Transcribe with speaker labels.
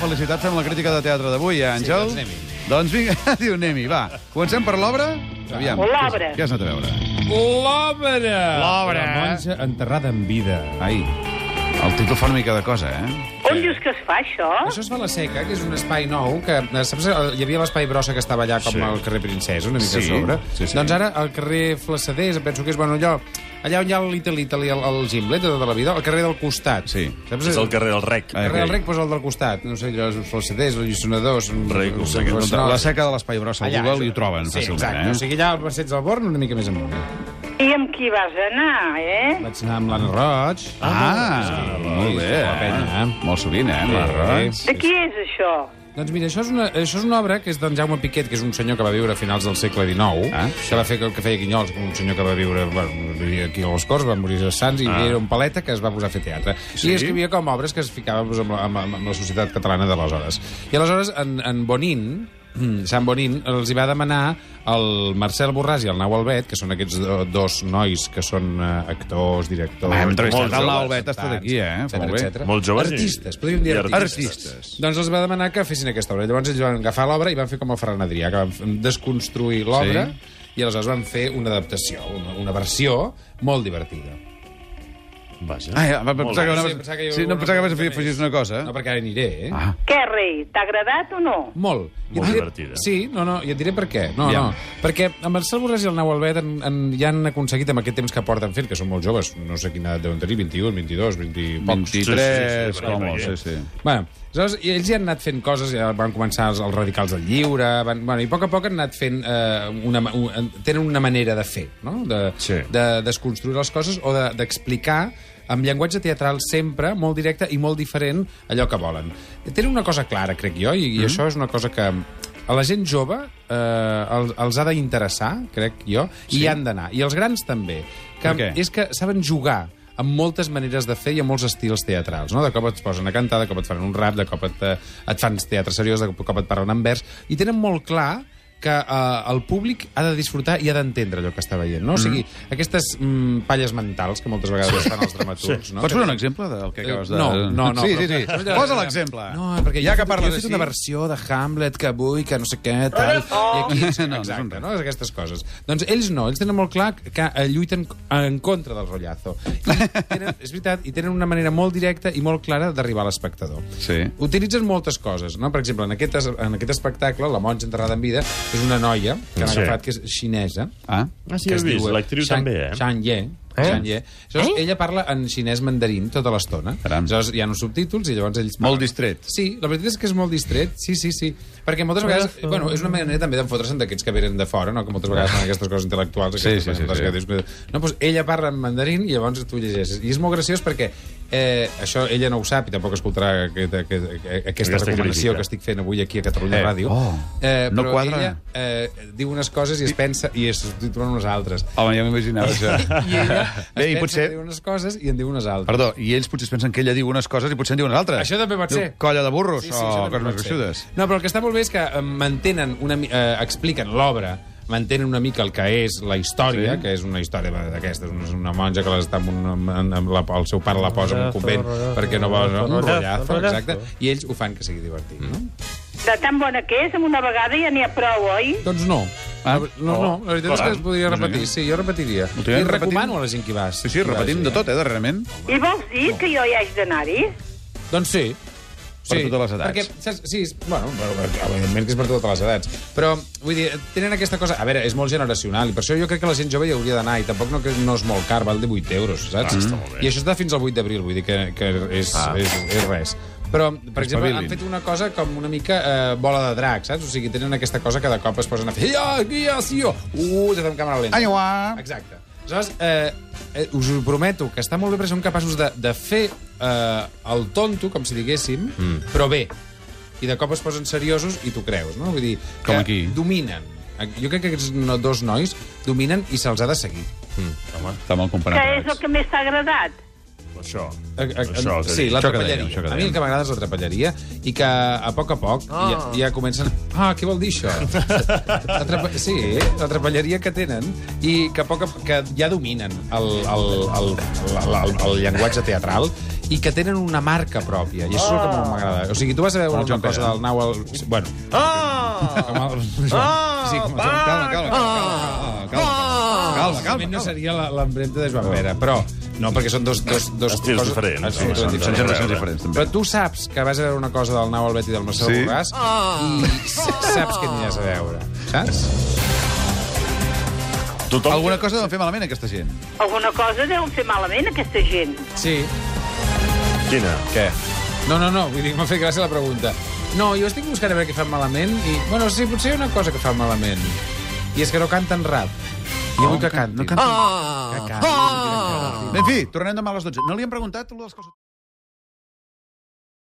Speaker 1: curiositat fem la crítica de teatre d'avui, eh, Àngel?
Speaker 2: doncs anem-hi.
Speaker 1: doncs vinga, diu anem-hi, va. Comencem per l'obra? Aviam.
Speaker 3: O l'obra.
Speaker 1: Què has anat a veure?
Speaker 2: L'obra! eh?
Speaker 4: L'obra.
Speaker 2: La monja enterrada en vida.
Speaker 1: Ai, el títol fa una mica de cosa, eh?
Speaker 3: On dius que es fa, això?
Speaker 2: Això és la Seca, que és un espai nou, que eh, saps, eh, hi havia l'espai brossa que estava allà com
Speaker 4: Sí.
Speaker 2: sí. al carrer Princesa, una mica
Speaker 1: Sí,
Speaker 2: a sobre.
Speaker 1: sí, sí.
Speaker 2: Doncs ara al carrer Flassaders, em penso que és bueno, allò, allà on hi ha el Little Italy, el, el Gimlet de tota la vida, al carrer del costat.
Speaker 1: Sí.
Speaker 2: Saps?
Speaker 4: És el carrer del Rec.
Speaker 1: Ah,
Speaker 2: El carrer del
Speaker 1: aquell.
Speaker 2: Rec, posa el del costat. No sé, allò, els Flassaders, els lliçonadors...
Speaker 4: Rec,
Speaker 2: els-
Speaker 4: aquell
Speaker 2: els-
Speaker 1: La seca de l'espai brossa, al
Speaker 2: Allà,
Speaker 1: Google, i ho troben
Speaker 2: sí,
Speaker 1: fàcilment,
Speaker 2: exacte.
Speaker 1: eh?
Speaker 2: O sigui, allà al Passeig del Born, una mica més amunt.
Speaker 3: I amb qui vas anar, eh?
Speaker 2: Vaig anar amb l'Anna Roig.
Speaker 1: Ah, molt bé.
Speaker 2: la penya, eh?
Speaker 1: Molt sovint, eh? La
Speaker 2: Sí.
Speaker 1: Roig.
Speaker 3: De qui és això?
Speaker 2: Doncs mira, això és, una, això és una obra que és d'en Jaume Piquet, que és un senyor que va viure a finals del segle XIX,
Speaker 1: Ah.
Speaker 2: ah. que va fer el que feia Guinyols, un senyor que va viure bueno, vivia aquí a les Corts, va morir a Sants, i ah. era un paleta que es va posar a fer teatre.
Speaker 1: Sí?
Speaker 2: I escrivia com obres que es ficaven doncs, amb, la- amb, amb, amb la societat catalana d'aleshores. I aleshores, en, en Bonin, mm, Sant Bonin, els hi va demanar el Marcel Borràs i el Nau Albet, que són aquests do- dos nois que són eh, actors, directors...
Speaker 1: Home, hem entrevistat
Speaker 2: molts
Speaker 1: el Nau
Speaker 2: joves,
Speaker 1: Albet, ha estat
Speaker 2: tants,
Speaker 1: aquí, eh?
Speaker 2: etcètera,
Speaker 1: Molt bé.
Speaker 2: etcètera.
Speaker 4: Molt joves i-
Speaker 2: Artistes, podríem dir
Speaker 4: i
Speaker 2: artistes.
Speaker 1: Artistes.
Speaker 2: Doncs els va demanar que fessin aquesta obra. Llavors ells van agafar l'obra i van fer com el Ferran Adrià, que van f- desconstruir l'obra sí. i aleshores van fer una adaptació, una, una versió molt divertida.
Speaker 4: Vaja.
Speaker 1: Ah, ja, va pensar que,
Speaker 2: bé.
Speaker 1: una...
Speaker 2: Sí, pensava que hi havia
Speaker 1: sí, no
Speaker 2: una
Speaker 1: pensava que
Speaker 2: cosa
Speaker 1: vas
Speaker 2: més.
Speaker 1: afegir una cosa.
Speaker 2: No, perquè ara hi aniré, eh?
Speaker 1: Ah.
Speaker 3: Què, rei? T'ha agradat o no?
Speaker 2: Molt. I et
Speaker 4: Molt divertida.
Speaker 2: Sí, no, no, i et diré per què. No,
Speaker 1: Ja.
Speaker 2: ja. no. Perquè en Marcel Borràs i el Nau Albet en, en, ja han aconseguit amb aquest temps que porten fent, que són molt joves, no sé quina edat deuen tenir, 21, 22, 20... Pocs.
Speaker 1: 23,
Speaker 4: Sí, sí, sí, sí,
Speaker 1: com
Speaker 4: perquè-
Speaker 1: molt, sí, sí.
Speaker 2: Bueno, aleshores, i ells ja han anat fent coses, ja van començar els, els radicals del lliure, van, bueno, i a poc a poc han anat fent... Eh, una, ma- un, tenen una manera de fer, no? De,
Speaker 4: Sí.
Speaker 2: de desconstruir les coses o de- d'explicar de, amb llenguatge teatral sempre molt directe i molt diferent allò que volen. Tenen una cosa clara, crec jo, i, i això és una cosa que a la gent jove eh, els, els ha d'interessar, crec jo, sí. i hi han d'anar. I els grans també. Que
Speaker 1: Per què?
Speaker 2: és que saben jugar amb moltes maneres de fer i amb molts estils teatrals. No? De cop et posen a cantar, de cop et fan un rap, de cop et, eh, et fan teatre seriós, de cop et parlen en vers... I tenen molt clar que eh, el públic ha de disfrutar i ha d'entendre allò que està veient. No? O sigui, aquestes mm, palles mentals que moltes vegades es fan els dramaturgs...
Speaker 1: No,
Speaker 2: No?
Speaker 1: Pots
Speaker 2: Que
Speaker 1: posar un exemple del que acabes de...
Speaker 2: no, no, no.
Speaker 1: Sí, sí,
Speaker 2: però-
Speaker 1: sí.
Speaker 2: però-
Speaker 1: Posa l'exemple.
Speaker 2: No, eh, perquè
Speaker 1: Ah. ja
Speaker 2: jo,
Speaker 1: que parles
Speaker 2: jo he fet
Speaker 1: així...
Speaker 2: una versió de Hamlet que vull, que no sé què, tal... I
Speaker 1: No,
Speaker 2: aquí,
Speaker 1: no és un
Speaker 2: exacte,
Speaker 1: rap.
Speaker 2: no? Aquestes coses. Doncs ells no, ells tenen molt clar que eh, lluiten en contra del rotllazo. I tenen, és veritat, i tenen una manera molt directa i molt clara d'arribar a l'espectador.
Speaker 1: Sí.
Speaker 2: Utilitzen moltes coses, no? Per exemple, en aquest, es- en aquest espectacle, La monja enterrada en vida, és una noia que han
Speaker 4: Sí.
Speaker 2: agafat que és xinesa,
Speaker 1: Ah,
Speaker 4: Ah, sí, he vist. L'actriu també, eh?
Speaker 2: Shang Ye.
Speaker 4: Eh?
Speaker 2: Eh? Shang Ye. Llavors, eh? ella parla en xinès mandarín tota l'estona.
Speaker 1: Caram.
Speaker 2: Llavors, hi ha uns subtítols i llavors ells...
Speaker 1: Molt distret.
Speaker 2: Sí, la veritat és que és molt distret, sí, sí, sí. Perquè moltes vegades... Bueno, és una manera també d'enfotre-se'n d'aquests que venen de fora, no? Que moltes vegades fan aquestes coses intel·lectuals.
Speaker 1: Ah. Sí,
Speaker 2: aquestes
Speaker 1: sí, sí,
Speaker 2: presentacions
Speaker 1: sí.
Speaker 2: Que dius, que- no, doncs ella parla en mandarín i llavors tu llegeixes. I és molt graciós perquè eh, això ella no ho sap i tampoc escoltarà aquest, aquest, aquesta,
Speaker 4: Aquesta
Speaker 2: recomanació
Speaker 4: crítica.
Speaker 2: que estic fent avui aquí a Catalunya
Speaker 1: Eh,
Speaker 2: Ràdio.
Speaker 1: oh, no
Speaker 2: però
Speaker 1: quadra.
Speaker 2: ella eh, diu unes coses i es pensa i es subtitulen unes altres.
Speaker 1: home, ja m'imaginava això.
Speaker 2: I ella
Speaker 1: Bé,
Speaker 2: es
Speaker 1: i
Speaker 2: pensa
Speaker 1: potser-
Speaker 2: que diu unes coses i en diu unes altres.
Speaker 1: Perdó, i ells potser es pensen que ella diu unes coses i potser en diu unes altres.
Speaker 2: Això també pot
Speaker 1: Diu,
Speaker 2: ser.
Speaker 1: Colla de burros
Speaker 2: això
Speaker 1: o
Speaker 2: també
Speaker 1: coses més
Speaker 2: pot ser.
Speaker 1: Oh, gruixudes.
Speaker 2: No, però el que està molt bé és que eh, mantenen una, mi- eh, expliquen l'obra mantenen una mica el que és la
Speaker 1: Sí.
Speaker 2: història, sí. que és una història d'aquestes, una, una monja que l'està amb un, amb, amb la, el seu pare la posa en un convent perquè no vol un rotllazo, exacte, i ells ho fan que sigui divertit,
Speaker 1: Mm.
Speaker 2: no?
Speaker 3: De tan bona que és, amb una vegada ja n'hi ha prou, oi?
Speaker 2: Doncs no.
Speaker 1: Ah.
Speaker 2: Ah, no, no, la veritat és que es podria repetir. Sí, jo repetiria.
Speaker 1: Oh. Doncs Ho
Speaker 2: I
Speaker 1: tenen repetit?
Speaker 2: recomano a la gent que hi va.
Speaker 1: Sí, sí, repetim de tot, eh, darrerament.
Speaker 3: I vols dir que jo hi haig d'anar-hi?
Speaker 2: Doncs sí.
Speaker 1: Per totes les edats.
Speaker 2: Perquè, saps, sí, és- bueno, però, però, evidentment que és per totes les edats. Però, vull dir, tenen aquesta cosa... A veure, és molt generacional, i per això jo crec que la gent jove hi hauria d'anar, i tampoc no, que no és molt car, val de 8 euros, saps?
Speaker 4: Ah, està molt bé.
Speaker 2: I això està fins al 8 d'abril, vull dir que, que és, ah. és, és res. Però, per exemple,
Speaker 1: Espavilin.
Speaker 2: han fet una cosa com una mica eh, bola de drac, saps? O sigui, tenen aquesta cosa que de cop es posen a fer... Ja, ja, sí, jo! Uh, ja fem càmera lenta.
Speaker 1: Ai, uà.
Speaker 2: Exacte. Aleshores, eh, eh, us ho prometo, que està molt bé perquè són capaços de, de fer eh, el tonto, com si diguéssim, mm. però bé. I de cop es posen seriosos i tu creus, no? Vull dir,
Speaker 1: Com
Speaker 2: que
Speaker 1: aquí.
Speaker 2: dominen. Jo crec que aquests no, dos nois dominen i se'ls ha de seguir.
Speaker 1: Està eh, mal
Speaker 3: Que
Speaker 1: comparat.
Speaker 3: és el que més t'ha agradat?
Speaker 4: Això.
Speaker 2: A, a,
Speaker 4: Això,
Speaker 2: a,
Speaker 4: és a
Speaker 2: sí,
Speaker 4: dir,
Speaker 2: la
Speaker 1: això que dèiem,
Speaker 2: trapelleria.
Speaker 1: això que
Speaker 2: A mi
Speaker 1: dèiem.
Speaker 2: el que m'agrada és la trapelleria i que a poc a poc ja, ja comencen... Ah, què vol dir això? la trapa... Sí, la trapelleria que tenen i que, a poc a... que ja dominen el, el, el, el, el, el llenguatge teatral i que tenen una marca pròpia. I això és el que molt m'agrada. O sigui, tu vas a veure
Speaker 1: el
Speaker 2: una
Speaker 1: Joan
Speaker 2: cosa
Speaker 1: Pere.
Speaker 2: del nau al... Bueno,
Speaker 4: Ah!
Speaker 2: com el...
Speaker 4: Ah!
Speaker 1: Sí, com... Calma, calma, calma, calma, calma, calma, calma, calma,
Speaker 2: no
Speaker 1: calma.
Speaker 2: seria la- l'empremta de Joan Pere, però... No, perquè són dos... dos, dos
Speaker 4: Estils diferents,
Speaker 2: Ah, sí,
Speaker 4: home,
Speaker 2: són
Speaker 1: eh? doncs. Són
Speaker 4: són
Speaker 2: diferents.
Speaker 1: generacions diferents, també.
Speaker 2: Però tu saps que vas a veure una cosa del Nau Albet i del Marcel
Speaker 1: Sí.
Speaker 2: sí. Borràs i sa- saps què aniràs a veure, saps?
Speaker 4: Tothom...
Speaker 1: Alguna cosa deu fer malament, aquesta gent.
Speaker 3: Alguna cosa deu fer malament, aquesta gent.
Speaker 2: Sí.
Speaker 4: Quina?
Speaker 2: Què? No, no, no, vull dir, m'ha fet gràcia la pregunta. No, jo estic buscant a veure què fan malament i... Bueno, sí, potser hi ha una cosa que fan malament. I és que no canten rap. I jo vull que cantin.
Speaker 1: no cantin.
Speaker 2: Que cantin.
Speaker 1: En fi, tornem demà a les 12. No li hem preguntat allò dels calçotets?